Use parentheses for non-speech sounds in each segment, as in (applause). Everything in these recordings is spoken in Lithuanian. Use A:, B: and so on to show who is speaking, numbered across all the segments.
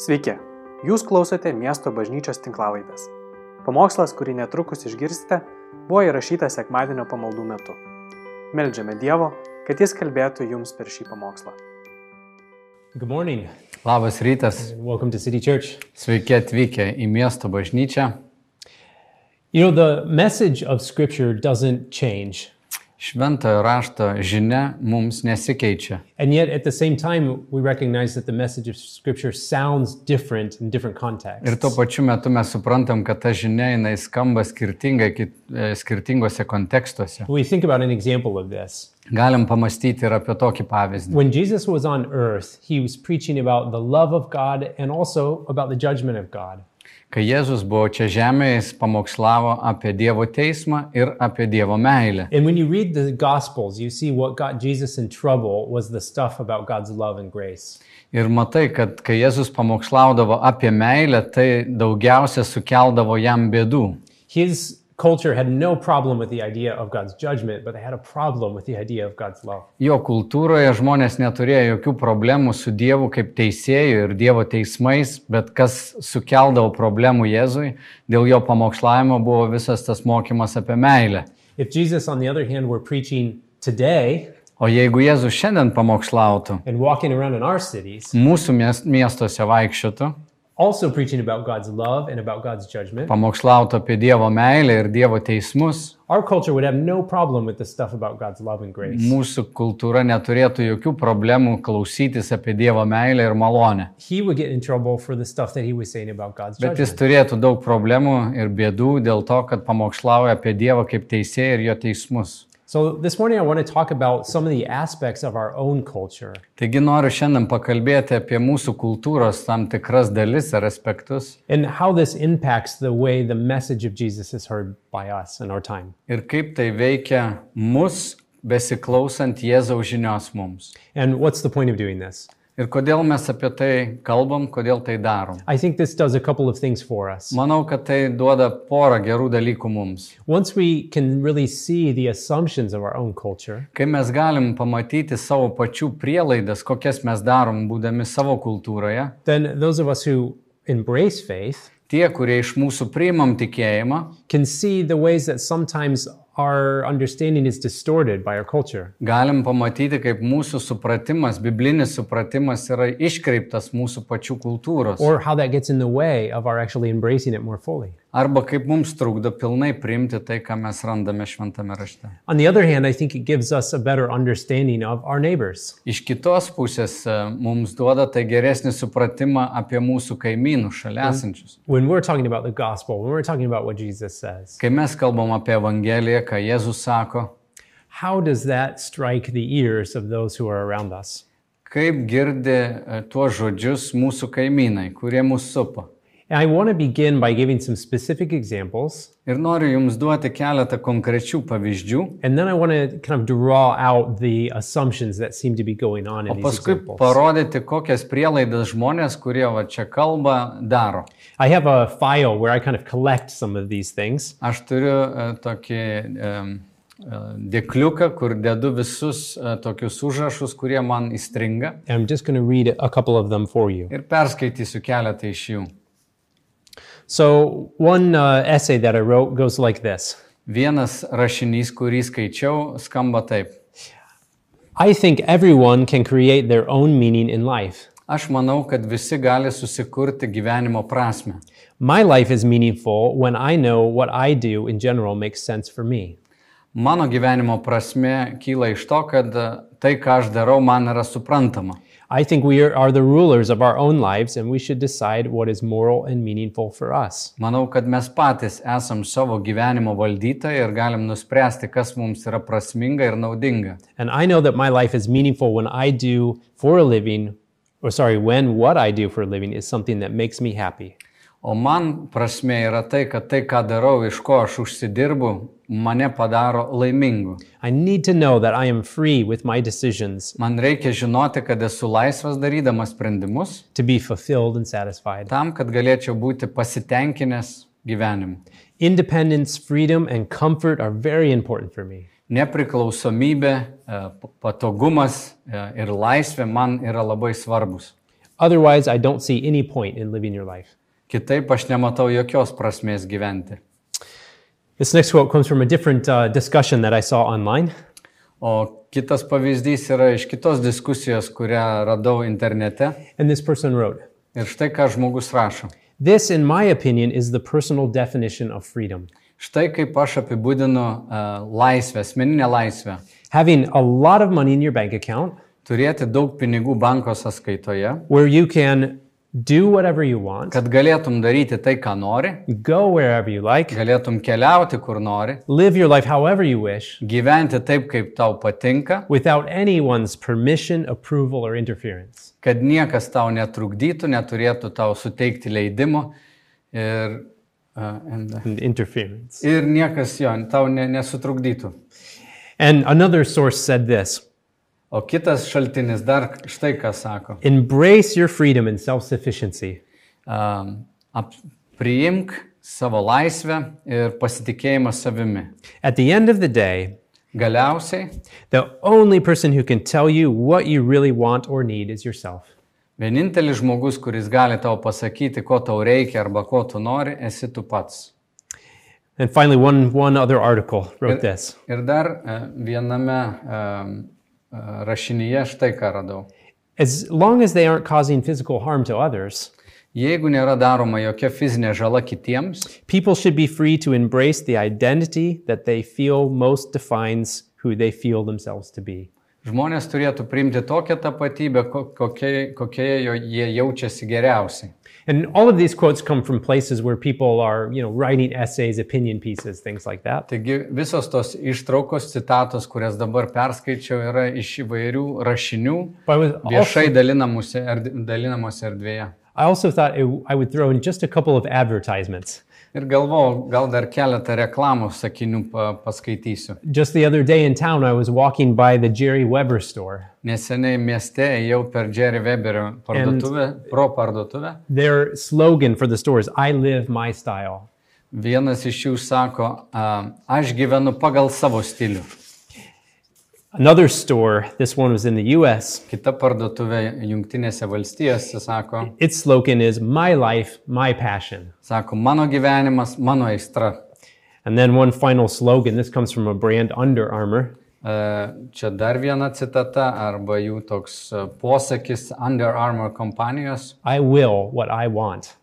A: Sveiki, jūs klausote miesto bažnyčios tinklavaitės. Pamokslas, kurį netrukus išgirsite, buvo įrašytas sekmadienio pamaldų metu. Meldžiame Dievo, kad Jis kalbėtų jums per šį pamokslą.
B: Good morning.
C: Labas rytas,
B: Welcome to City Church.
C: sveiki atvykę į miesto bažnyčią.
B: You know, the message of Scripture doesn't change.
C: Šventojo rašto žinia mums nesikeičia.
B: And yet, at the same time, we recognize that the message of Scripture sounds different in different contexts.
C: Ir tuo pačiu metu mes suprantam, kad ta žinia jinai skamba skirtingai, kit, e, skirtingose kontekstuose.
B: we think about an example of this.
C: Galim pamastyti ir apie tokį pavyzdį.
B: When Jesus was on earth, he was preaching about the love of God and also about the judgment of God.
C: Kai Jėzus buvo čia žemėje, jis pamokslavo apie Dievo teismą ir apie Dievo meilę.
B: And when you read the Gospels, you see what got Jesus in trouble was the stuff about God's love and grace.
C: Ir matai, kad kai Jėzus pamokslaudavo apie meilę, tai daugiausia sukeldavo jam bėdų.
B: His culture had no problem with the idea of God's judgment, but they had a problem with the idea of God's love.
C: Jo kultūroje žmonės neturėjo jokių problemų su Dievu kaip teisėju ir Dievo teismais, bet kas sukeldavo problemų Jėzui, dėl jo pamokslavimo buvo visas tas mokymas apie meilę.
B: If Jesus, on the other hand, were preaching today
C: O jeigu Jėzus šiandien pamokslautų,
B: and walking around in our cities,
C: mūsų mies- miestuose vaikščiotų,
B: also preaching about God's love and about God's judgment,
C: pamokslautų apie Dievo meilę ir Dievo teismus,
B: our culture would have no problem with the stuff about God's love and grace.
C: mūsų kultūra neturėtų jokių problemų klausytis apie Dievo meilę ir malonę.
B: He would get in trouble for the stuff that he was saying about God's
C: Bet jis
B: judgment.
C: turėtų daug problemų ir bėdų dėl to, kad pamokslauja apie Dievą kaip teisėją ir jo teismus.
B: So this morning I want to talk about some of the aspects of our own culture
C: Taigi noriu šiandien pakalbėti apie mūsų kultūros tam tikras dalis ar aspektus
B: and how this impacts the way the message of Jesus is heard by us in our time.
C: ir kaip tai veikia mus besiklausant Jėzaus žinios mums.
B: And what's the point of doing this?
C: Ir kodėl mes apie tai kalbam, kodėl tai darom.
B: I think this does a couple of things for us.
C: Manau, kad tai duoda porą gerų dalykų mums.
B: Once we can really see the assumptions of our own culture,
C: Kai mes galim pamatyti savo pačių prielaidas, kokias mes darom būdami savo kultūroje,
B: then those of us who embrace faith
C: tie, kurie iš mūsų priimam tikėjimą,
B: can see the ways that sometimes our understanding is distorted by our culture.
C: galim pamatyti, kaip mūsų supratimas, biblinis supratimas yra iškreiptas mūsų pačių kultūros.
B: Or how that gets in the way of our actually embracing it more fully.
C: Arba kaip mums trukdo pilnai priimti tai, ką mes randame šventame rašte.
B: On the other hand, I think it gives us a better understanding of our neighbors.
C: Iš kitos pusės e, mums duoda tai geresnį supratimą apie mūsų kaimynų šalia esančius.
B: When we're talking about the gospel, when we're talking about what Jesus says,
C: Kai mes kalbam apie Evangeliją, ką Jėzus sako,
B: how does that strike the ears of those who are around us?
C: kaip girdi e, tuos žodžius mūsų kaimynai, kurie mūsų supa.
B: And I want to begin by giving some specific examples
C: Ir noriu Jums duoti keletą konkrečių pavyzdžių,
B: And then I want to kind of draw out the assumptions that seem to be going on in these
C: paskui
B: examples.
C: parodyti, kokias prielaidas žmonės, kurie va čia kalba, daro.
B: I have a file where I kind of collect some of these things.
C: Aš turiu e, tokį um, dėkliuką, kur dedu visus e, tokius užrašus, kurie man įstringa
B: And I'm just going to read a couple of them for you.
C: ir perskaitysiu keletą iš jų.
B: So, one uh, essay that I wrote goes like this
C: Vienas rašinys, kurį skaičiau, skamba taip.
B: I think everyone can create their own meaning in life.
C: Aš manau, kad visi gali susikurti gyvenimo prasme.
B: My life is meaningful when I know what I do in general makes sense for me.
C: Mano gyvenimo prasme kyla iš to, kad e, tai, ką aš darau, man yra suprantama.
B: I think we are, are the rulers of our own lives and we should decide what is moral and meaningful for us.
C: Manau, kad mes patys esam savo gyvenimo valdytojai ir galim nuspręsti, kas mums yra prasminga ir naudinga.
B: And I know that my life is meaningful when I do for a living, or sorry, when what I do for a living is something that makes me happy.
C: O man prasme yra tai, kad tai, ką darau, iš ko aš užsidirbu, mane padaro laimingu.
B: I need to know that I am free with my decisions
C: Man reikia žinoti, kad esu laisvas darydamas sprendimus
B: to be fulfilled and satisfied.
C: tam, kad galėčiau būti pasitenkinęs gyvenimu.
B: Independence, freedom, and comfort are very important for me.
C: Nepriklausomybė, e, p- patogumas e, ir laisvė man yra labai svarbus.
B: Otherwise, I don't see any point in living your life.
C: Kitaip aš nematau jokios prasmės gyventi.
B: This next quote comes from a different uh, discussion that I saw online.
C: O kitas pavyzdys yra iš kitos diskusijos, kurią radau internete.
B: And this person wrote
C: Ir štai ką žmogus rašo.
B: This, in my opinion, is the personal definition of freedom.
C: Štai kaip aš apibūdinu uh, laisvę, asmeninę laisvę.
B: Having a lot of money in your bank account
C: Turėti daug pinigų banko sąskaitoje,
B: where you can do whatever you want,
C: kad galėtum daryti tai, ką nori,
B: go wherever you like,
C: galėtum keliauti, kur nori,
B: live your life however you wish,
C: gyventi taip, kaip tau patinka,
B: without anyone's permission, approval, or interference.
C: kad niekas tau netrukdytų, neturėtų tau suteikti leidimo ir, uh, and,
B: And interference.
C: ir niekas jo tau ne, nesutrukdytų.
B: And another source said this
C: O kitas šaltinis dar štai ką sako.
B: embrace your freedom and self sufficiency.
C: Um, ap, priimk savo laisvę ir pasitikėjimą savimi.
B: At the end of the day,
C: Galiausiai
B: the only person who can tell you what you really want or need is yourself.
C: vienintelis žmogus, kuris gali tau pasakyti, ko tau reikia arba ko tu nori, esi tu pats.
B: And finally, one, one other article wrote this
C: Ir dar e, viename e, e, rašinyje štai ką radau.
B: As long as they aren't causing physical harm to others,
C: Jeigu nėra daroma jokia fizinė žala kitiems,
B: people should be free to embrace the identity that they feel most defines who they feel themselves to be.
C: žmonės turėtų priimti tokią tapatybę, ko- kokiai- kokioje jo- jie jaučiasi geriausiai.
B: And all of these quotes come from places where people are, you know, writing essays, opinion pieces, things like that.
C: Taigi visos tos ištraukos, citatos, kurias dabar perskaičiau, yra iš įvairių rašinių
B: But I, was also,
C: viešai dalinamuose erd- dalinomose erdvėje.
B: I also thought it, I would throw in just a couple of advertisements.
C: Ir galvojau, gal dar keletą reklamų sakinių pa- paskaitysiu.
B: Just the other day in town, I was walking by the Jerry Weber store.
C: Neseniai mieste ėjau per Jerry Weberio parduotuvę, pro parduotuvę.
B: Their slogan for the store is "I live my style,"
C: Vienas iš jų sako, a, aš gyvenu pagal savo stilių.
B: Another store, this one was in the US,
C: Kita parduotuvė Junktinėse valstijose sako,
B: its slogan is My Life, My Passion.
C: sako, mano gyvenimas, mano aistra.
B: And then one final slogan, this comes from a brand Under Armour.
C: E, Čia dar viena citata arba jų toks e, posakis Under Armour kompanijos.
B: I will what I want.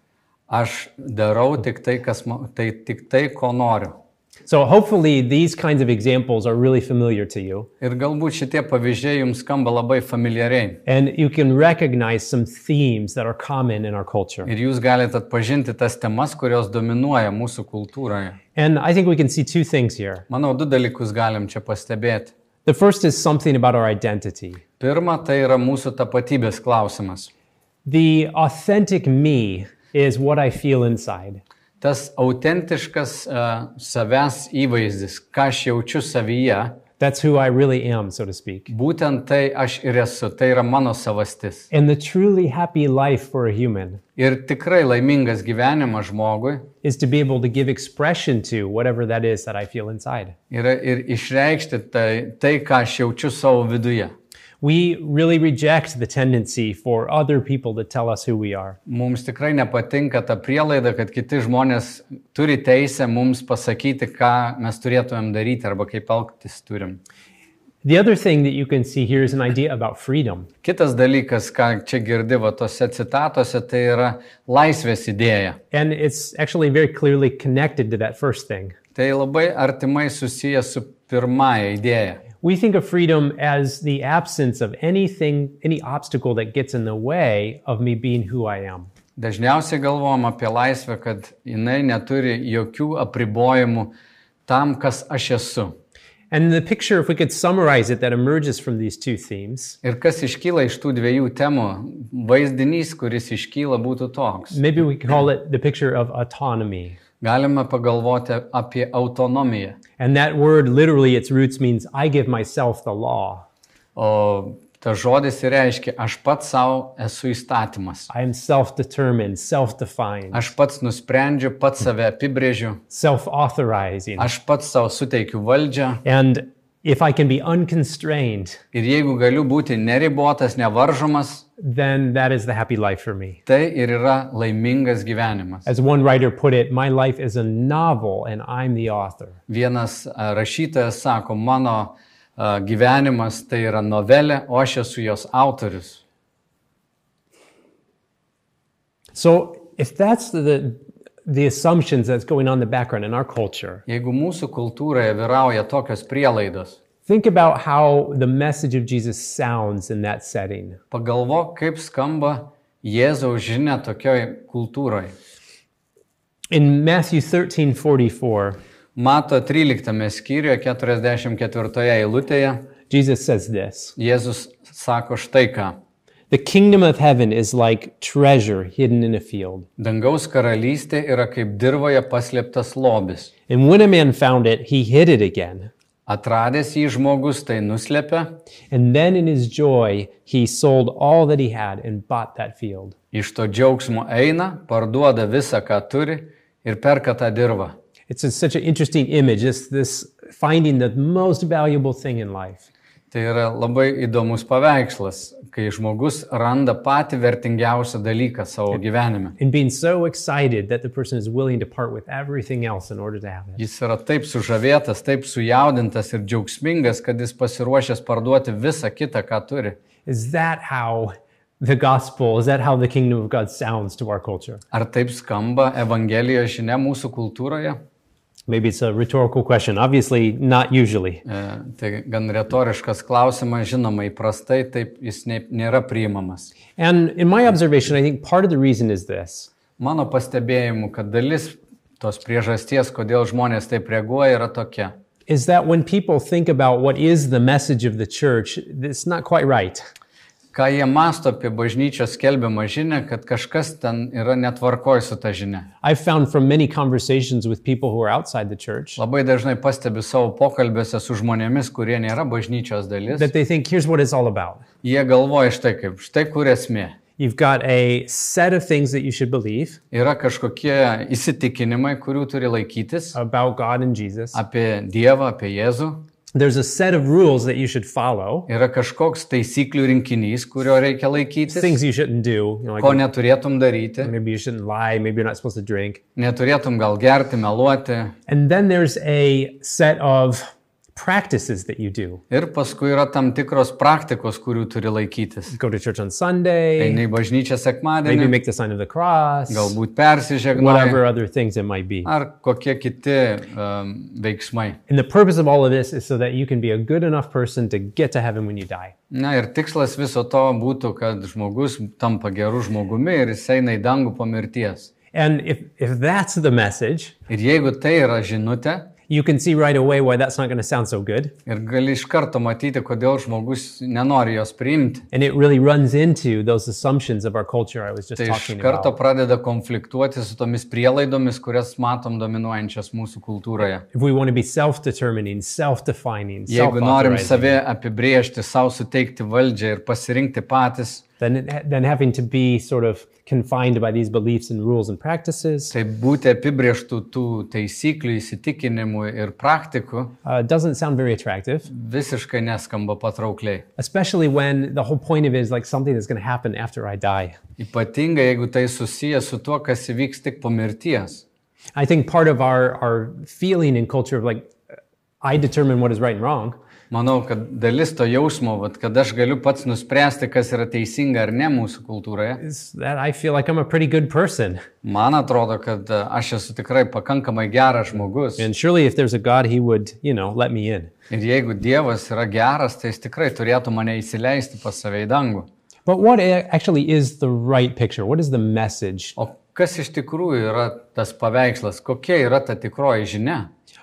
C: Aš darau tik tai, kas, ma- tai, tik tai, ko noriu.
B: So hopefully these kinds of examples are really familiar to you
C: Ir galbūt šitie pavyzdžiai jums skamba labai familiariai.
B: and you can recognize some themes that are common in our culture.
C: Ir jūs galite atpažinti tas temas, kurios dominuoja mūsų kultūroje.
B: And I think we can see two things here.
C: Manau, du dalykus galim čia pastebėti.
B: The first is something about our identity.
C: Pirma, tai yra mūsų tapatybės klausimas.
B: The authentic me is what I feel inside.
C: Tas autentiškas uh, savęs įvaizdis, ką aš jaučiu savyje,
B: That's who I really am, so to speak.
C: būtent tai aš ir esu, tai yra mano savastis.
B: And the truly happy life for a human
C: Ir tikrai laimingas gyvenimas žmogui
B: is to be able to give expression to whatever that is that I feel inside.
C: yra ir išreikšti tai, tai ką aš jaučiu savo viduje.
B: We really reject the tendency for other people to tell us who we are.
C: Mums tikrai nepatinka ta prielaida, kad kiti žmonės turi teisę mums pasakyti, ką mes turėtumėm daryti arba kaip elgtis turim.
B: The other thing that you can see here is an idea about freedom.
C: Kitas dalykas, ką čia girdėvo tose citatose, tai yra laisvės idėja.
B: And it's actually very clearly connected to that first thing.
C: Tai labai artimai susijęs su pirmąja idėja.
B: We think of freedom as the absence of anything, any obstacle that gets in the way of me being who I am.
C: Dažniausiai galvojam apie laisvę, kad jinai neturi jokių apribojimų tam, kas aš esu.
B: And the picture, if we could summarize it, that emerges from these two themes,
C: Ir kas iškyla iš tų dviejų temų, vaizdinys, kuris iškyla, būtų toks.
B: maybe we could call it the picture of autonomy.
C: Galime pagalvoti apie autonomiją.
B: And that word, literally, its roots means I give myself the law.
C: O tas žodis ir reiškia, aš pats savo esu įstatymas.
B: I am self determined, self defined,
C: Aš pats nusprendžiu, pats save apibrėžiu,
B: self authorizing.
C: aš pats savo suteikiu valdžią.
B: And If I can be unconstrained,
C: Ir jeigu galiu būti neribotas, nevaržomas,
B: then that is the happy life for me.
C: tai ir yra laimingas gyvenimas.
B: As one writer put it, my life is a novel and I'm the author.
C: Vienas a, rašytojas sako, mano a, gyvenimas tai yra novelė, o aš esu jos autorius.
B: So if that's the the assumptions that's going on in the background in our culture,
C: Jeigu mūsų kultūroje vyrauja tokios prielaidos,
B: think about how the message of Jesus sounds in that setting.
C: pagalvok, kaip skamba Jėzaus žinia tokioj kultūroje.
B: In Matthew 13, 44,
C: Mato 13 skyriuje 44 eilutėje
B: Jesus says this
C: Jėzus sako štai ką.
B: The kingdom of heaven is like treasure hidden in a field.
C: Dangaus karalystė yra kaip dirboje paslėptas lobis.
B: And when a man found it, he hid it again.
C: Atradęs jį žmogus tai nuslėpia,
B: And then in his joy, he sold all that he had and bought that field.
C: iš to džiaugsmo eina, parduoda visą, ką turi ir perka tą dirbą.
B: It's just such an interesting image, this, this finding the most valuable thing in life.
C: Tai yra labai įdomus paveikslas, kai žmogus randa patį vertingiausią dalyką savo gyvenime.
B: And being so excited that the person is willing to part with everything else in order to have it.
C: Jis yra taip sužavėtas, taip sujaudintas ir džiaugsmingas, kad jis pasiruošęs parduoti visą kitą, ką turi.
B: Is that how the gospel, is that how the kingdom of God sounds to our culture?
C: Ar taip skamba Evangelijos žinia mūsų kultūroje?
B: Maybe it's a rhetorical question. Obviously, not usually.
C: E, tai gan retoriškas klausimas, žinoma, įprastai taip jis ne, nėra priimamas.
B: And in my observation, I think part of the reason is this
C: Mano pastebėjimu, kad dalis tos priežasties, kodėl žmonės taip reaguoja, yra tokia.
B: is that when people think about what is the message of the church, it's not quite right.
C: Ką jie masto apie bažnyčios skelbiamą žinę, kad kažkas ten yra netvarkoj su ta žinia.
B: I've found from many conversations with people who are outside the church
C: Labai dažnai pastebiu savo pokalbiuose su žmonėmis, kurie nėra bažnyčios dalis.
B: that they think, here's what it's all about.
C: Jie galvoja štai kaip, štai kur esmė.
B: You've got a set of things that you should believe
C: Yra kažkokie įsitikinimai, kurių turi laikytis
B: about God and Jesus.
C: apie Dievą, apie Jėzų.
B: There's a set of rules that you should follow,
C: Yra kažkoks taisyklių rinkinys, kurio reikia laikytis,
B: things you shouldn't do. You know,
C: ko
B: like
C: neturėtum daryti.
B: maybe you shouldn't lie, maybe you're not supposed to drink.
C: Neturėtum gal gerti, meluoti.
B: And then there's a set of practices that you do.
C: Ir paskui yra tam tikros praktikos, kurių turi laikytis.
B: Go to church on Sunday,
C: Eini į bažnyčią
B: maybe
C: sekmadienį,
B: make the sign of the cross,
C: galbūt persižegnuoji
B: whatever other things it might be.
C: ar kokie kiti um, veiksmai.
B: And the purpose of all of this is so that you can be a good enough person to get to heaven when you die.
C: Na ir tikslas viso to būtų, kad žmogus tampa geru žmogumi ir jis eina į dangų po mirties.
B: And if, if that's the message,
C: Ir jeigu tai yra žinutė,
B: you can see right away why that's not going to sound so good.
C: ir gali iš karto matyti, kodėl žmogus nenori jos priimti,
B: And it really runs into those assumptions of our culture I was just
C: tai iš
B: talking
C: karto
B: about.
C: pradeda konfliktuoti su tomis prielaidomis, kurias matom dominuojančias mūsų kultūroje.
B: If we want to be self determining, self defining, self
C: Jeigu norim save apibriežti, savo suteikti valdžią ir pasirinkti patys,
B: then, then having to be sort of confined by these beliefs and rules and practices
C: tai būti apibrieštų tų taisyklių, įsitikinimų ir praktikų
B: uh, doesn't sound very attractive,
C: visiškai neskamba patraukliai.
B: especially when the whole point of it is like something that's going to happen after I die.
C: Ypatingai, jeigu tai susijęs su tuo, kas įvyks tik po mirties.
B: I think part of our, our feeling and culture of like, I determine what is right and wrong,
C: Manau, kad dalis to jausmo, vat, kad aš galiu pats nuspręsti, kas yra teisinga ar ne mūsų kultūroje,
B: is that I feel like I'm a pretty good person.
C: man atrodo, kad e, aš esu tikrai pakankamai geras žmogus.
B: And surely if there's a God, he would, you know, let me in.
C: Ir jeigu Dievas yra geras, tai jis tikrai turėtų mane įsileisti pas save į dangų.
B: But what a- actually is the right picture? What is the message?
C: O kas iš tikrųjų yra tas paveikslas, kokia yra ta tikroji žinia?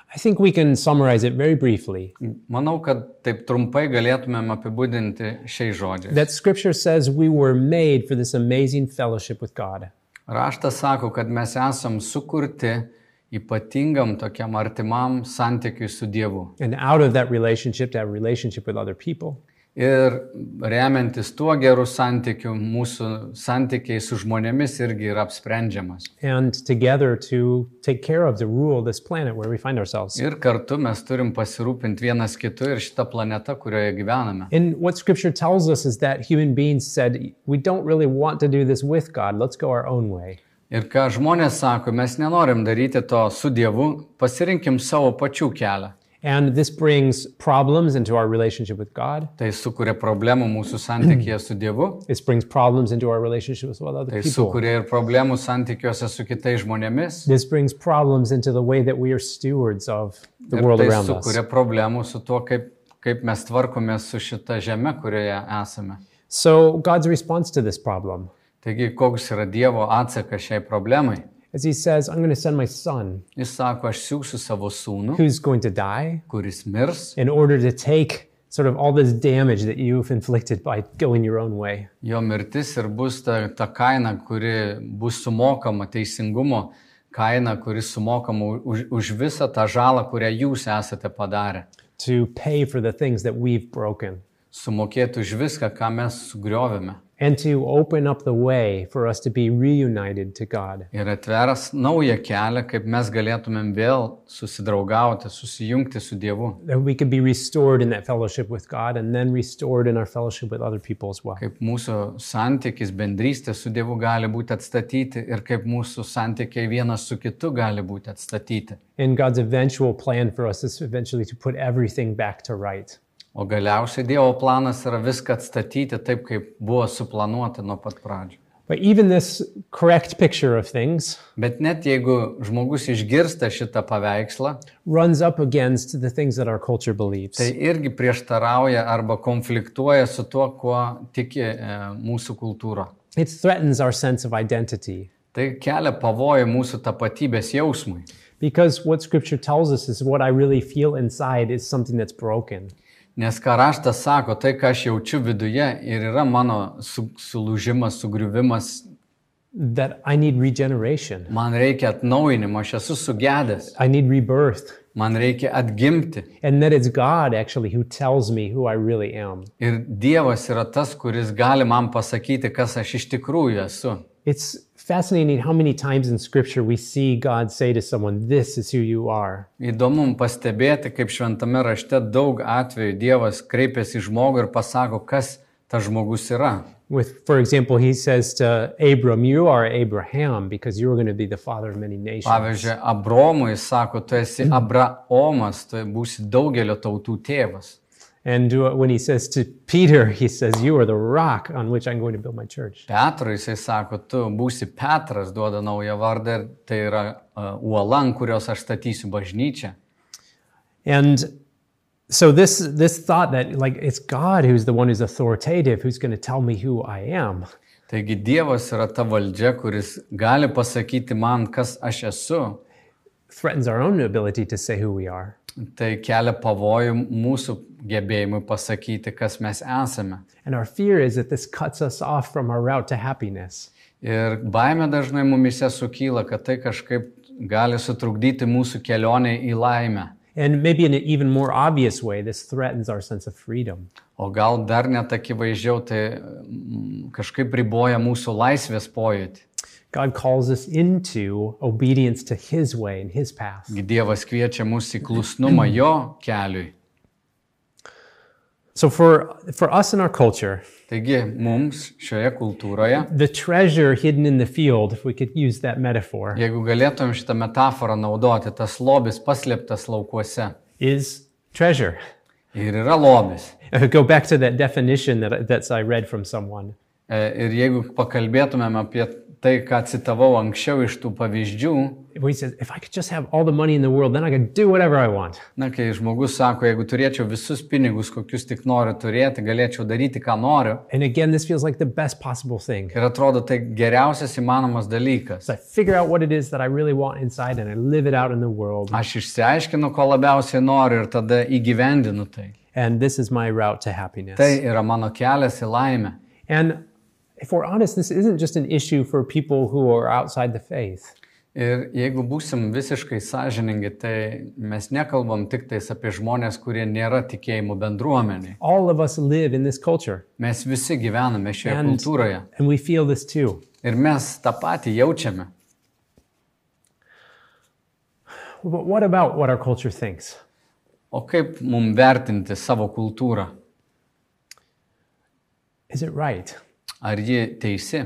B: I think we can summarize it very briefly
C: Manau, kad taip trumpai galėtumėm apibūdinti šiai žodžiai.
B: that scripture says we were made for this amazing fellowship with God.
C: Raštas sako, kad mes esam sukurti ypatingam tokiam artimam santykiui su Dievu.
B: And out of that relationship, to have a relationship with other people.
C: Ir remiantis tuo gerų santykių, mūsų santykiai su žmonėmis irgi yra apsprendžiamas.
B: and together to take care of the rule of this planet where we find ourselves.
C: Ir kartu mes turim pasirūpinti vienas kitu ir šitą planetą, kurioje gyvename.
B: And what scripture tells us is that human beings said, we don't really want to do this with God. Let's go our own way.
C: Ir ką žmonės sako, mes nenorim daryti to su Dievu, pasirinkim savo pačių kelią.
B: And this brings problems into our relationship with God.
C: Tai sukuria problemų
B: (clears throat)
C: mūsų santykėje su Dievu,
B: This brings problems into our relationships with other
C: tai
B: people.
C: sukuria ir problemų santykiuose su kitais žmonėmis,
B: This brings problems into the way that we are stewards of the
C: ir
B: world
C: tai
B: around us.
C: sukuria problemų su tuo, kaip, kaip mes tvarkomės su šita žeme, kurioje esame.
B: So, God's response to this problem
C: Taigi, koks yra Dievo atsakas šiai problemai?
B: is He says, I'm going to send my son
C: Jis sako, aš siūsiu savo sūnų,
B: who's going to die
C: kuris mirs,
B: in order to take sort of all this damage that you've inflicted by going your own way.
C: jo mirtis ir bus ta, ta kaina, kuri bus sumokama teisingumo kaina, kuri sumokama už, už visą tą žalą, kurią jūs esate padarę.
B: to pay for the things that we've broken
C: Sumokėti už viską, ką mes sugriovėme.
B: and to open up the way for us to be reunited to God.
C: Ir atveras naują kelią, kaip mes galėtumėm vėl susidraugauti, susijungti su Dievu.
B: That we could be restored in that fellowship with God and then restored in our fellowship with other people as well.
C: Kaip mūsų santykis, bendrystė su Dievu gali būti atstatyti ir kaip mūsų santykiai vienas su kitu gali būti atstatyti.
B: And God's eventual plan for us is eventually to put everything back to right.
C: O galiausiai Dievo planas yra viską atstatyti taip, kaip buvo suplanuota nuo pat pradžių.
B: But even this correct picture of things
C: Bet net jeigu žmogus išgirsta šitą paveikslą,
B: runs up against the things that our culture believes.
C: tai irgi prieštarauja arba konfliktuoja su tuo, kuo tiki e, mūsų kultūra.
B: It threatens our sense of identity
C: Tai kelia pavojų mūsų tapatybės jausmui.
B: because what scripture tells us is what I really feel inside is something that's broken.
C: Nes ką raštas sako, tai ką aš jaučiu viduje ir yra mano su, sulūžimas, sugriuvimas,
B: that I need regeneration.
C: man reikia atnaujinimo, aš esu sugedęs,
B: I need rebirth.
C: man reikia atgimti.
B: And that it's God actually who tells me who I really am.
C: Ir Dievas yra tas, kuris gali man pasakyti, kas aš iš tikrųjų esu.
B: It's fascinating how many times in scripture we see God say to someone, This is who you are.
C: Įdomu pastebėti, kaip šventame rašte daug atvejų Dievas kreipiasi į žmogų ir pasako, kas tas žmogus yra.
B: With, for example, he says to Abram, You are Abraham because you're going to be the father of many nations.
C: Pavyzdžiui, Abromui sako, tu esi Abraomas, tu būsi daugelio tautų tėvas.
B: And uh, when he says to Peter, he says, You are the rock on which I'm going to build my church.
C: Petrui jisai sako, tu būsi Petras, duoda naują vardą ir tai yra uh, uola, ant kurios aš statysiu bažnyčią.
B: And so this this thought that like it's God who's the one who's authoritative, who's going to tell me who I am.
C: Taigi Dievas yra ta valdžia, kuris gali pasakyti man, kas aš esu.
B: threatens our own ability to say who we are.
C: Tai kelia pavojų mūsų gebėjimui pasakyti, kas mes esame.
B: And our fear is that this cuts us off from our route to happiness.
C: Ir baime dažnai mumise sukyla, kad tai kažkaip gali sutrukdyti mūsų kelionę į laimę.
B: And maybe in an even more obvious way, this threatens our sense of freedom.
C: O gal dar net akivaizdžiau, tai mm, kažkaip riboja mūsų laisvės pojūtį.
B: God calls us into obedience to His way and His path.
C: Gi Dievas kviečia mus į klusnumą jo keliui.
B: So, for, for us in our culture,
C: Taigi mums šioje kultūroje,
B: the treasure hidden in the field, if we could use that metaphor,
C: jeigu galėtumėm šitą metaforą naudoti, tas lobis paslėptas laukuose.
B: is treasure.
C: Ir yra lobis.
B: Go back to that definition that, that's I read from someone.
C: E, Ir jeigu pakalbėtumėm apie tai, ką citavau anksčiau iš tų pavyzdžių,
B: Where he says, if I could just have all the money in the world, then I could do whatever I want.
C: na, kai žmogus sako, jeigu turėčiau visus pinigus, kokius tik noriu turėti, galėčiau daryti, ką noriu.
B: And again, this feels like the best possible thing.
C: Ir atrodo, tai geriausias įmanomas dalykas.
B: So I figure out what it is that I really want inside and I live it out in the world.
C: Aš išsiaiškinu, ko labiausiai noriu ir tada įgyvendinu tai.
B: And this is my route to happiness.
C: Tai yra mano kelias į laimę.
B: And if we're honest, this isn't just an issue for people who are outside the faith.
C: Ir jeigu būsim visiškai sąžiningi, tai mes nekalbam tik tais apie žmonės, kurie nėra tikėjimų bendruomeniai.
B: All of us live in this culture,
C: Mes visi gyvename šioje
B: And-
C: kultūroje
B: and we feel this too.
C: ir mes tą patį jaučiame.
B: But what about what our culture thinks?
C: O kaip mums vertinti savo kultūrą?
B: Is it right?
C: Ar ji teisi?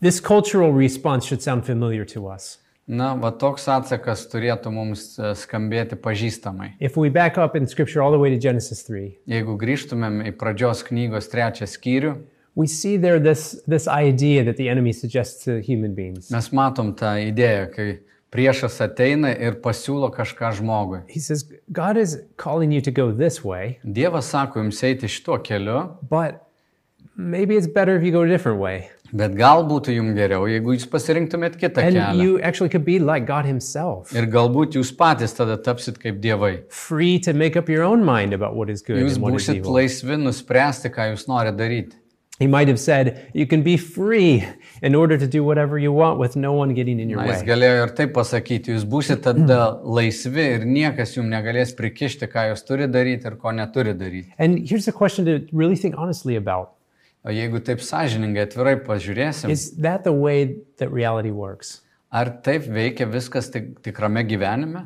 B: This cultural response should sound familiar to us.
C: Na, va toks atsakas turėtų mums e, skambėti pažįstamai.
B: If we back up in scripture all the way to Genesis 3,
C: Jeigu grįžtumėm į pradžios knygos trečią skyrių,
B: we see there this, this idea that the enemy suggests to human beings.
C: mes matom tą idėją, kai priešas ateina ir pasiūlo kažką žmogui.
B: He says, God is calling you to go this way,
C: Dievas sako jums eiti šituo keliu,
B: but maybe it's better if you go a different way.
C: bet gal būtų jums geriau, jeigu jūs pasirinktumėt kitą
B: And
C: kelią.
B: you actually could be like God Himself,
C: Ir galbūt jūs patys tada tapsit kaip dievai.
B: free to make up your own mind about what is good
C: Jūs
B: and what is
C: būsit
B: evil.
C: laisvi nuspręsti, ką jūs norite daryti.
B: He might have said, You can be free in order to do whatever you want with no one getting in your
C: Na, jis
B: way.
C: galėjo ir taip pasakyti, jūs būsit tada laisvi ir niekas jums negalės prikišti, ką jūs turi daryti ir ko neturi daryti.
B: And here's a question to really think honestly about
C: O jeigu taip sąžiningai atvirai pažiūrėsim,
B: Is that the way that reality works?
C: ar taip veikia viskas tik, tikrame gyvenime?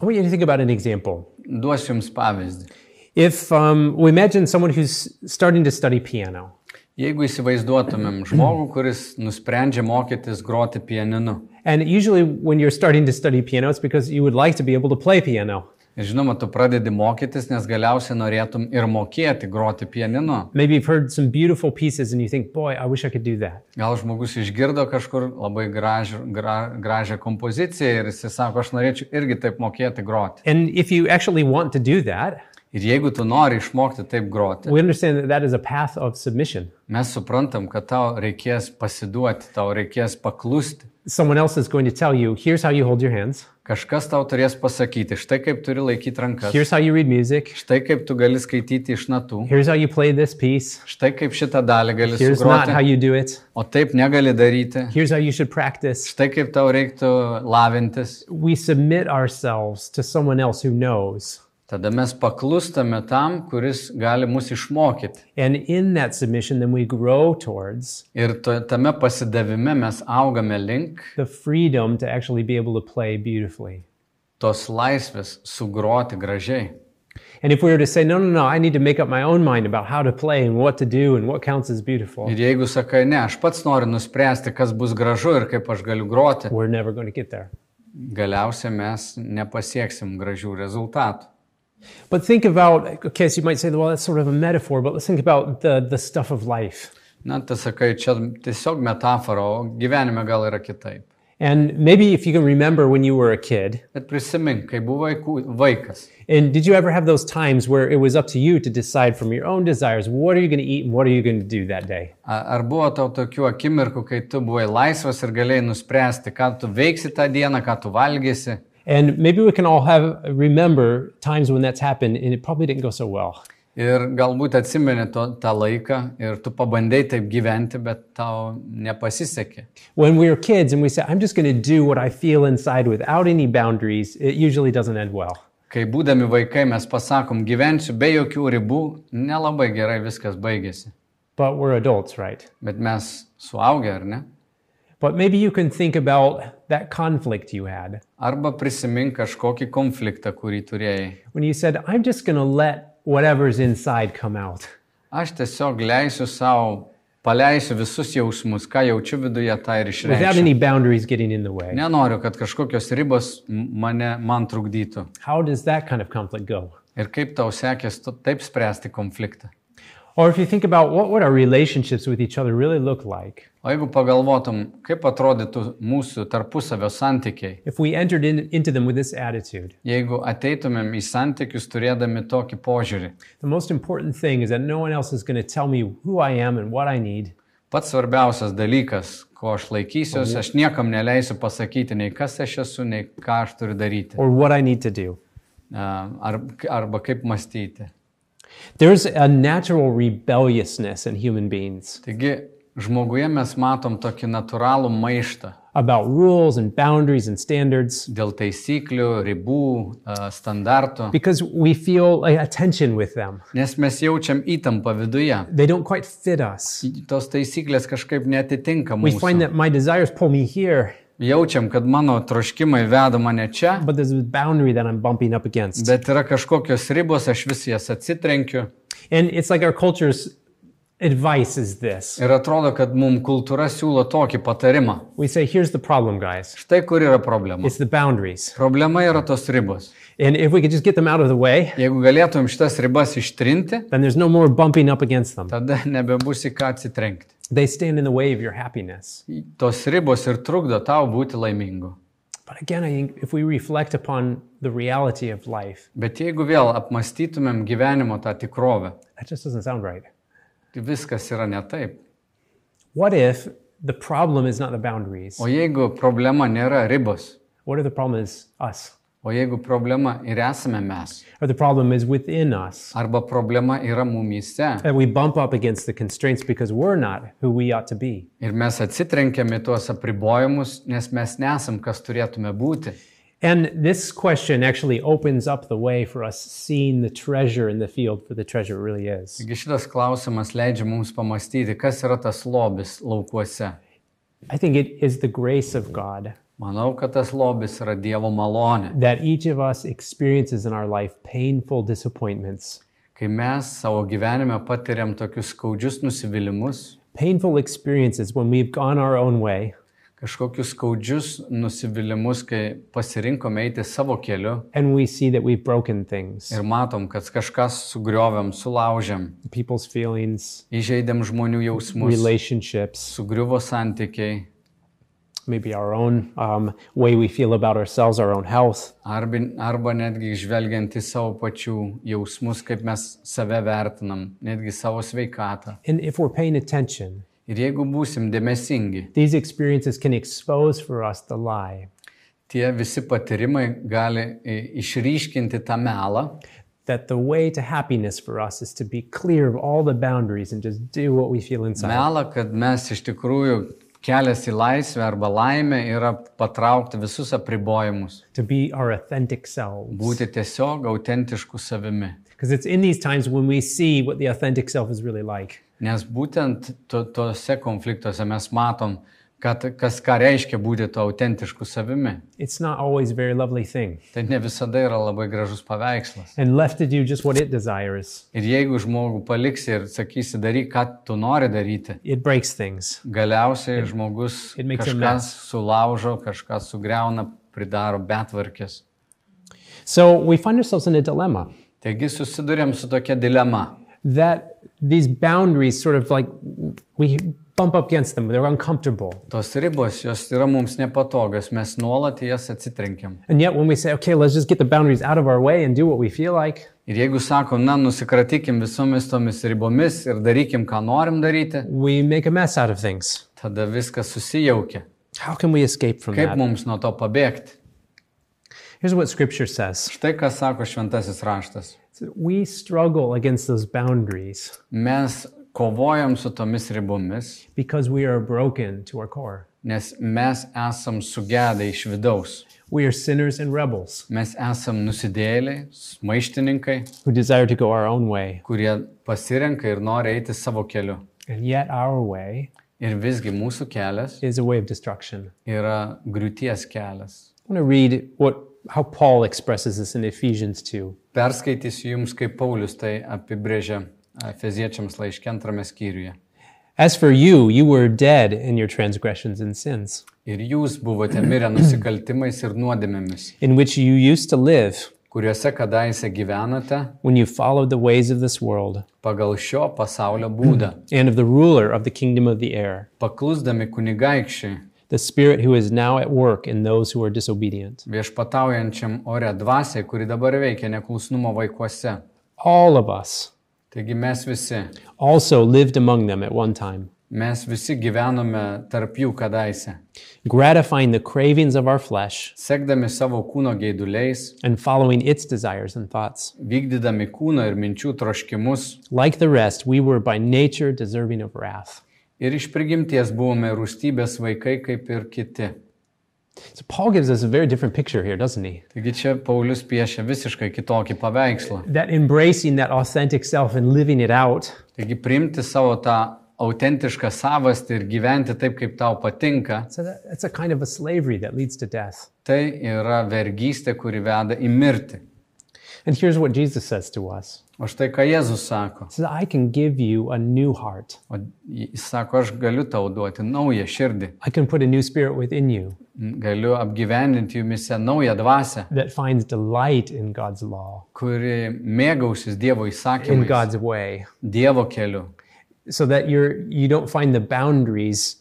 B: I want you to think about an example.
C: Duosiu jums pavyzdį.
B: If um, we imagine someone who's starting to study piano,
C: Jeigu įsivaizduotumėm žmogų, kuris nusprendžia mokytis groti pianinu.
B: and usually when you're starting to study piano, it's because you would like to be able to play piano.
C: Ir žinoma, tu pradedi mokytis, nes galiausiai norėtum ir mokėti groti pianinu.
B: Maybe you've heard some beautiful pieces and you think, boy, I wish I could do that.
C: Gal žmogus išgirdo kažkur labai gražią, gra, gražią kompoziciją ir jis sako, aš norėčiau irgi taip mokėti groti.
B: And if you actually want to do that,
C: Ir jeigu tu nori išmokti taip groti,
B: we understand that that is a path of submission.
C: mes suprantam, kad tau reikės pasiduoti, tau reikės paklusti.
B: Someone else is going to tell you, here's how you hold your hands,
C: Kažkas tau turės pasakyti, štai kaip turi laikyti rankas,
B: here's how you read music,
C: štai kaip tu gali skaityti iš natų,
B: here's how you play this piece,
C: štai kaip šitą dalį gali
B: here's not how
C: sugroti,
B: you do it,
C: o taip negali daryti,
B: here's how you should practice.
C: štai kaip tau reiktų lavintis.
B: we submit ourselves to someone else who knows.
C: Tada mes paklūstame tam, kuris gali mus išmokyti.
B: And in that submission, then we grow towards
C: Ir to, tame pasidavime mes augame link
B: the freedom to actually be able to play beautifully.
C: tos laisvės sugroti gražiai.
B: And if we were to say, no, no, no, I need to make up my own mind about how to play and what to do and what counts as beautiful,
C: Ir jeigu sakai, ne, aš pats noriu nuspręsti, kas bus gražu ir kaip aš galiu groti,
B: we're never going to get there.
C: galiausiai mes nepasieksim gražių rezultatų.
B: But think about, okay, so you might say, well, that's sort of a metaphor, but let's think about the, the stuff of life.
C: Na, tai sakai, čia tiesiog metafora, o gyvenime gal yra kitaip.
B: And maybe if you can remember when you were a kid,
C: Bet prisimink, kai buvai ku- vaikas,
B: and did you ever have those times where it was up to you to decide from your own desires, what are you going to eat and what are you going to do that day?
C: a- ar buvo tau tokių akimirkų, kai tu buvai laisvas ir galėjai nuspręsti, ką tu veiksi tą dieną, ką tu valgysi?
B: And maybe we can all have remember times when that's happened and it probably didn't go so well.
C: Ir galbūt atsimeni to, tą laiką ir tu pabandėjai taip gyventi, bet tau nepasisekė.
B: When we were kids and we said, I'm just going to do what I feel inside without any boundaries, it usually doesn't end well.
C: Kai būdami vaikai mes pasakom, gyvensiu be jokių ribų, nelabai gerai viskas baigėsi.
B: But we're adults, right?
C: Bet mes suaugę, ar ne?
B: But maybe you can think about that conflict you had
C: Arba prisimink kažkokį konfliktą, kurį turėjai.
B: when you said, I'm just going to let whatever's inside come out.
C: Aš tiesiog leisiu savo, paleisiu visus jausmus, ką jaučiu viduje, tą ir
B: Without
C: išreikščiau.
B: any boundaries getting in the way.
C: Nenoriu, kad kažkokios ribos m- mane man trukdytų.
B: How does that kind of conflict go?
C: Ir kaip tau sekės tu- taip spręsti konfliktą?
B: Or if you think about what would our relationships with each other really look like
C: O jeigu pagalvotum, kaip atrodytų mūsų tarpusavio santykiai,
B: if we entered in, into them with this attitude,
C: jeigu ateitumėm į santykius turėdami tokį požiūrį.
B: The most important thing is that no one else is going to tell me who I am and what I need
C: Pats svarbiausias dalykas, ko aš laikysiuosi, aš niekam neleisiu pasakyti nei kas aš esu, nei ką aš turiu daryti,
B: or what I need to do.
C: A, ar, arba kaip mąstyti.
B: There's a natural rebelliousness in human beings.
C: Taigi žmoguje mes matom tokį natūralų maištą
B: about rules and boundaries and standards
C: dėl taisyklių, ribų, e, standartų,
B: because we feel like, a tension with them.
C: nes mes jaučiam įtampą viduje.
B: They don't quite fit us.
C: Tos taisyklės kažkaip netitinka
B: We find
C: mūsų.
B: that my desires pull me here,
C: Jaučiam, kad mano troškimai veda mane čia,
B: but there's a boundary that I'm bumping up against.
C: bet yra kažkokios ribos, aš vis jas atsitrenkiu.
B: And it's like our culture's advice is this.
C: Ir atrodo, kad mums kultūra siūlo tokį patarimą.
B: We say, here's the problem, guys.
C: Štai kur yra problema.
B: It's the boundaries.
C: Problema yra tos ribos.
B: And if we could just get them out of the way,
C: Jeigu galėtum šitas ribas ištrinti,
B: then there's no more bumping up against them.
C: tada (laughs) nebebus į ką atsitrenkti.
B: They stand in the way of your happiness.
C: Tos ribos ir trukdo tau būti laimingu.
B: But again, I think if we reflect upon the reality of life,
C: Bet jeigu vėl apmastytumėm gyvenimo tą tikrovę,
B: that just doesn't sound right.
C: tai viskas yra ne taip.
B: What if the problem is not the boundaries?
C: O jeigu problema nėra ribos,
B: What if the problem is us?
C: o jeigu problema ir esame mes,
B: Or the problem is within us?
C: arba problema yra mumyse
B: That we bump up against the constraints because we're not who we ought to be.
C: ir mes atsitrenkiam į tuos apribojimus, nes mes nesam, kas turėtume būti.
B: And this question actually opens up the way for us seeing the treasure in the field for the treasure it really is.
C: Taigi šitas klausimas leidžia mums pamastyti, kas yra tas lobis laukuose.
B: I think it is the grace of God
C: Manau, kad tas lobis yra Dievo malonė.
B: that each of us experiences in our life painful disappointments,
C: Kai mes savo gyvenime patiriam tokius skaudžius nusivylimus,
B: painful experiences when we've gone our own way,
C: kažkokius skaudžius nusivylimus, kai pasirinkome eiti savo keliu
B: and we see that we've broken things,
C: ir matom, kad kažkas sugriovėm, sulaužėm,
B: people's feelings,
C: įžeidėm žmonių jausmus,
B: relationships,
C: sugriuvo santykiai,
B: maybe our own um, way we feel about ourselves, our own health.
C: arba, arba netgi žvelgiant į savo pačių jausmus, kaip mes save vertinam, netgi savo sveikatą.
B: And if we're paying attention,
C: Ir jeigu būsim dėmesingi,
B: these experiences can expose for us the lie
C: tie visi patyrimai gali i- išryškinti tą melą,
B: that the way to happiness for us is to be clear of all the boundaries and just do what we feel inside.
C: melą, kad mes iš tikrųjų kelias į laisvę arba laimę yra patraukti visus apribojimus,
B: To be our authentic selves.
C: būti tiesiog autentišku savimi.
B: Because it's in these times when we see what the authentic self is really like.
C: Nes būtent to, tose konfliktuose mes matom, kad, kas ką reiškia būti to autentišku savimi.
B: It's not always a very lovely thing.
C: Tai ne visada yra labai gražus paveikslas.
B: And left to do just what it desires,
C: Ir jeigu žmogų paliksi ir sakysi, daryk, ką tu nori daryti,
B: it breaks things.
C: galiausiai žmogus
B: it makes a
C: kažką
B: mess.
C: sulaužo, kažką sugriauna, pridaro betvarkės.
B: So we find ourselves in a dilemma.
C: Taigi susidurėm su tokia dilema.
B: that these boundaries sort of like we bump up against them they're uncomfortable
C: Tos ribos, jos yra mums nepatogios, mes nuolat į jas atsitrenkiam.
B: and yet when we say okay let's just get the boundaries out of our way and do what we feel like
C: Ir jeigu sakom, na, nusikratykim visomis tomis ribomis ir darykim, ką norim daryti,
B: we make a mess out of things
C: tada viskas susijaukia.
B: how can we escape from
C: Kaip
B: that
C: mums nuo to pabėgti?
B: here's what scripture says
C: Štai ką sako šventasis raštas.
B: we struggle against those boundaries
C: Mes kovojam su tomis ribomis,
B: because we are broken to our core
C: nes mes esam sugedę iš vidaus.
B: we are sinners and rebels
C: Mes esam nusidėliai, maištininkai,
B: who desire to go our own way
C: kurie pasirenka ir nori eiti savo keliu.
B: and yet our way
C: Ir visgi mūsų kelias
B: is a way of destruction
C: yra griūties kelias.
B: i want to read what how paul expresses this in ephesians 2
C: Perskaitysiu jums, kaip Paulius tai apibrėžia Efeziečiams laiške antrame skyriuje.
B: As for you, you were dead in your transgressions and sins,
C: Ir jūs buvote mirę nusikaltimais ir nuodėmėmis,
B: in which you used to live
C: kuriuose kadaise gyvenate
B: when you followed the ways of this world
C: pagal šio pasaulio būdą,
B: and of the ruler of the kingdom of the air,
C: paklusdami kunigaikščiai,
B: the spirit who is now at work in those who are disobedient.
C: viešpataujančiam ore dvasiai, kuri dabar veikia neklusnumo vaikuose.
B: All of us
C: Taigi mes visi,
B: also lived among them at one time,
C: mes visi gyvenome tarp jų kadaise,
B: gratifying the cravings of our flesh
C: sekdami savo kūno geiduliais,
B: and following its desires and thoughts.
C: vykdydami kūno ir minčių troškimus,
B: Like the rest, we were by nature deserving of wrath.
C: ir iš prigimties buvome rūstybės vaikai kaip ir kiti.
B: So Paul gives us a very different picture here, doesn't he?
C: Taigi čia Paulius piešia visiškai kitokį paveikslą.
B: That embracing that authentic self and living it out
C: Taigi priimti savo tą autentišką savastį ir gyventi taip, kaip tau patinka,
B: So that, that's a kind of a slavery that leads to death.
C: tai yra vergystė, kuri veda į mirtį.
B: And here's what Jesus says to us.
C: O štai ką Jėzus sako.
B: He says, I can give you a new heart.
C: O jis sako, aš galiu tau duoti naują širdį,
B: I can put a new spirit within you
C: galiu apgyvendinti jumise naują dvasę,
B: that finds delight in God's law,
C: kuri mėgausis Dievo
B: in
C: įsakymu,
B: God's way,
C: Dievo keliu.
B: so that you're you don't find the boundaries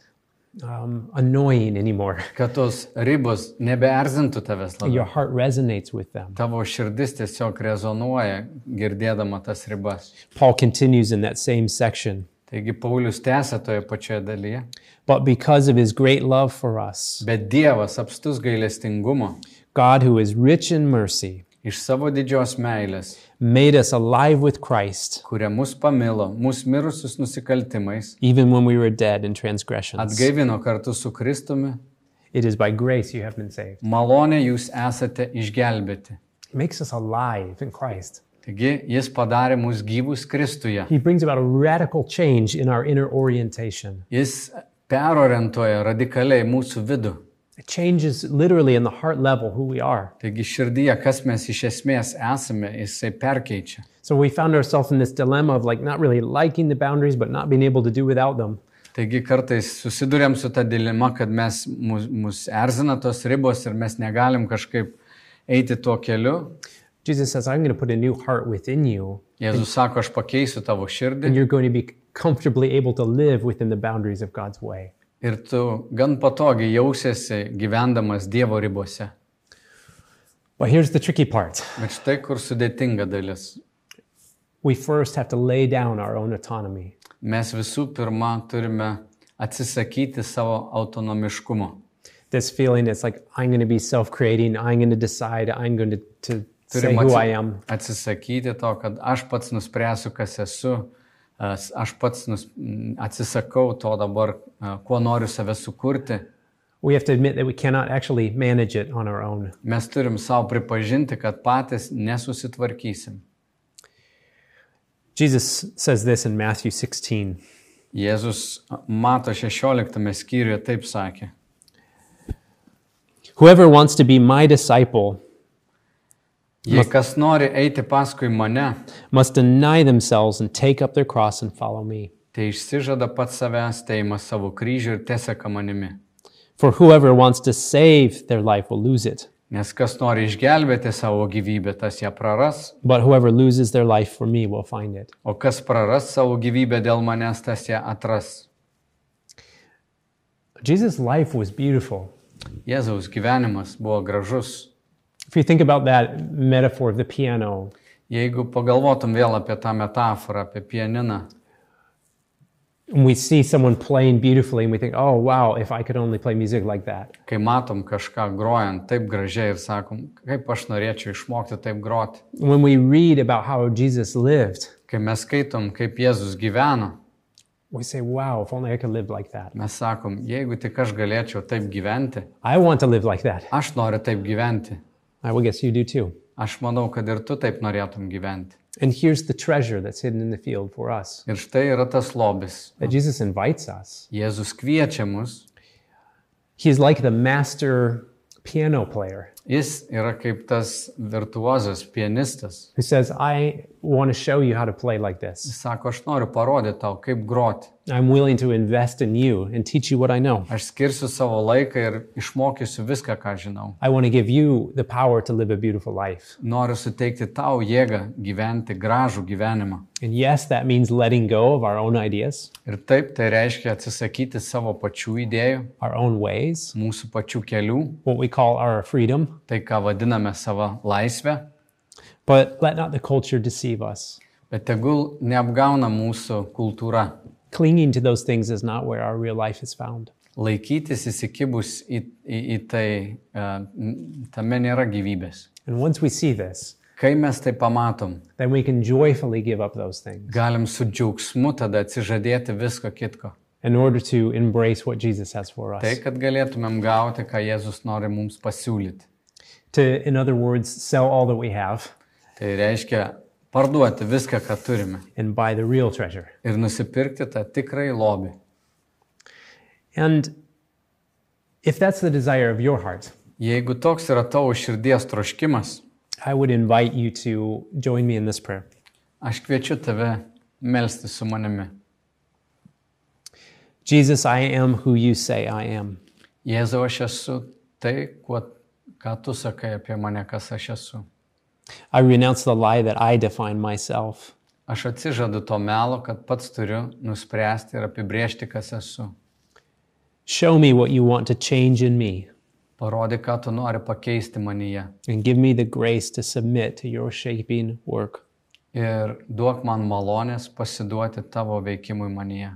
B: um, annoying anymore. (laughs)
C: Kad tos ribos nebeerzintų tavęs labiau.
B: Your heart resonates with them.
C: Tavo širdis tiesiog rezonuoja girdėdama tas ribas.
B: Paul continues in that same section.
C: Taigi Paulius tęsė toje pačioje dalyje.
B: But because of his great love for us,
C: Bet Dievas apstus gailestingumo
B: God, who is rich in mercy,
C: iš savo didžios meilės,
B: made us alive with Christ,
C: kuria mus pamilo, mus mirusius nusikaltimais,
B: even when we were dead in transgressions.
C: atgaivino kartu su Kristumi,
B: It is by grace you have been saved.
C: malonė jūs esate išgelbėti.
B: He makes us alive in Christ.
C: Taigi jis padarė mus gyvus Kristuje.
B: He brings about a radical change in our inner orientation.
C: Jis perorientuoja radikaliai mūsų vidų.
B: It changes literally in the heart level who we are.
C: Taigi širdyje, kas mes iš esmės esame, jisai perkeičia.
B: So we found ourselves in this dilemma of like not really liking the boundaries, but not being able to do without them.
C: Taigi kartais susidurėm su ta dilema, kad mes, mus, mus erzina tos ribos ir mes negalim kažkaip eiti tuo keliu.
B: Jesus says, I'm going to put a new heart within you,
C: Jėzus sako, aš pakeisiu tavo širdį
B: and you're going to be comfortably able to live within the boundaries of God's way.
C: ir tu gan patogiai jausiesi gyvendamas Dievo ribose.
B: But here's the tricky part
C: Bet štai kur sudėtinga dalis.
B: we first have to lay down our own autonomy.
C: Mes visų pirma turime atsisakyti savo autonomiškumo.
B: this feeling it's like i'm going to be self-creating i'm going to decide i'm going to, to say
C: Turim
B: who i
C: atsi
B: am
C: atsisakyti to, kad aš pats nuspręsiu, kas esu, as- aš pats nus m, atsisakau to dabar, a, kuo noriu save sukurti.
B: we have to admit that we cannot actually manage it on our own
C: Mes turim savo pripažinti, kad patys nesusitvarkysim.
B: jesus says this in matthew 16
C: Jėzus a, mato 16 skyriuje taip sakė.
B: whoever wants to be my disciple
C: Jei kas nori eiti paskui mane,
B: must deny themselves and take up their cross and follow me
C: tai išsižada pats savęs, teima savo kryžių ir teseka manimi.
B: for whoever wants to save their life will lose it
C: Nes kas nori išgelbėti savo gyvybę, tas ją praras,
B: but whoever loses their life for me will find it
C: O kas praras savo gyvybę dėl manęs, tas ją atras.
B: jesus life was beautiful
C: Jėzaus gyvenimas buvo gražus.
B: if you think about that metaphor of the piano
C: Jeigu pagalvotum vėl apie tą metaforą, apie pianiną,
B: and we see someone playing beautifully and we think, oh, wow, if I could only play music like that.
C: kai matom kažką grojant taip gražiai ir sakom, kaip aš norėčiau išmokti taip groti.
B: When we read about how Jesus lived,
C: Kai mes skaitom, kaip Jėzus gyveno,
B: we say, wow, if only I could live like that.
C: mes sakom, jeigu tik aš galėčiau taip gyventi,
B: I want to live like that.
C: aš noriu taip gyventi.
B: I will guess you do too.
C: Aš manau, kad ir tu taip norėtum gyventi.
B: And here's the treasure that's hidden in the field for us
C: Ir štai yra tas lobis.
B: that Jesus invites us.
C: Jėzus kviečia mus
B: He's like the master piano player
C: Jis yra kaip tas virtuozas pianistas.
B: who says, I want to show you how to play like this.
C: Jis sako, aš noriu parodyti tau, kaip groti.
B: I'm willing to invest in you and teach you what I know.
C: Aš skirsiu savo laiką ir išmokysiu viską, ką žinau.
B: I want to give you the power to live a beautiful life.
C: Noriu suteikti tau jėgą gyventi gražų gyvenimą.
B: And yes, that means letting go of our own ideas,
C: Ir taip tai reiškia atsisakyti savo pačių idėjų,
B: our own ways,
C: mūsų pačių kelių,
B: what we call our freedom.
C: tai ką vadiname savo laisvę,
B: But let not the culture deceive us.
C: bet tegul neapgauna mūsų kultūra.
B: Clinging to those things is not where our real life is found.
C: Laikytis įsikibus į, į, į tai, e, n- tame nėra gyvybės.
B: And once we see this,
C: Kai mes tai pamatom,
B: then we can joyfully give up those things.
C: galim su džiaugsmu tada atsižadėti visko kitko.
B: in order to embrace what Jesus has for us.
C: Tai, kad galėtumėm gauti, ką Jėzus nori mums pasiūlyti.
B: To, in other words, sell all that we have
C: Tai reiškia parduoti viską, ką turime
B: and buy the real treasure.
C: ir nusipirkti tą tikrai lobį.
B: And if that's the desire of your heart,
C: Jeigu toks yra tavo širdies troškimas,
B: I would invite you to join me in this prayer.
C: aš kviečiu tave melsti su manimi.
B: Jesus, I am who you say I am.
C: Jėzau, aš esu tai, kuo, ką tu sakai apie mane, kas aš esu.
B: I renounce the lie that I define myself.
C: Aš atsižadu to melo, kad pats turiu nuspręsti ir apibriežti, kas esu.
B: Show me what you want to change in me
C: Parodyk, ką tu nori pakeisti manyje.
B: and give me the grace to submit to your shaping work.
C: Ir duok man malonės pasiduoti tavo veikimui manyje.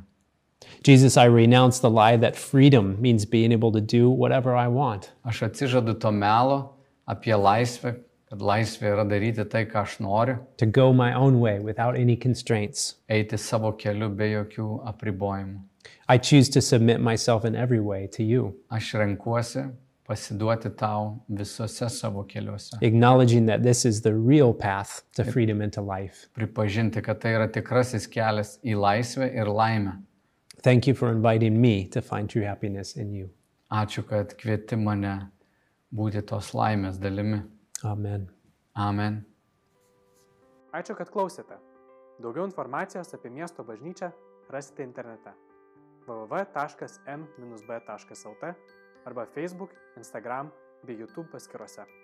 B: Jesus, I renounce the lie that freedom means being able to do whatever I want.
C: Aš atsižadu to melo apie laisvę, kad laisvė yra daryti tai, ką aš noriu,
B: to go my own way without any constraints.
C: eiti savo keliu be jokių apribojimų.
B: I choose to submit myself in every way to you,
C: Aš renkuosi pasiduoti tau visose savo keliuose.
B: acknowledging that this is the real path to freedom and to life.
C: Pripažinti, kad tai yra tikrasis kelias į laisvę ir laimę.
B: Thank you for inviting me to find true happiness in you.
C: Ačiū, kad kvieti mane būti tos laimės dalimi.
B: Amen.
C: Amen.
A: Ačiū, kad klausėte. Daugiau informacijos apie miesto bažnyčią rasite internete www.m-b.lt arba Facebook, Instagram bei YouTube paskiruose.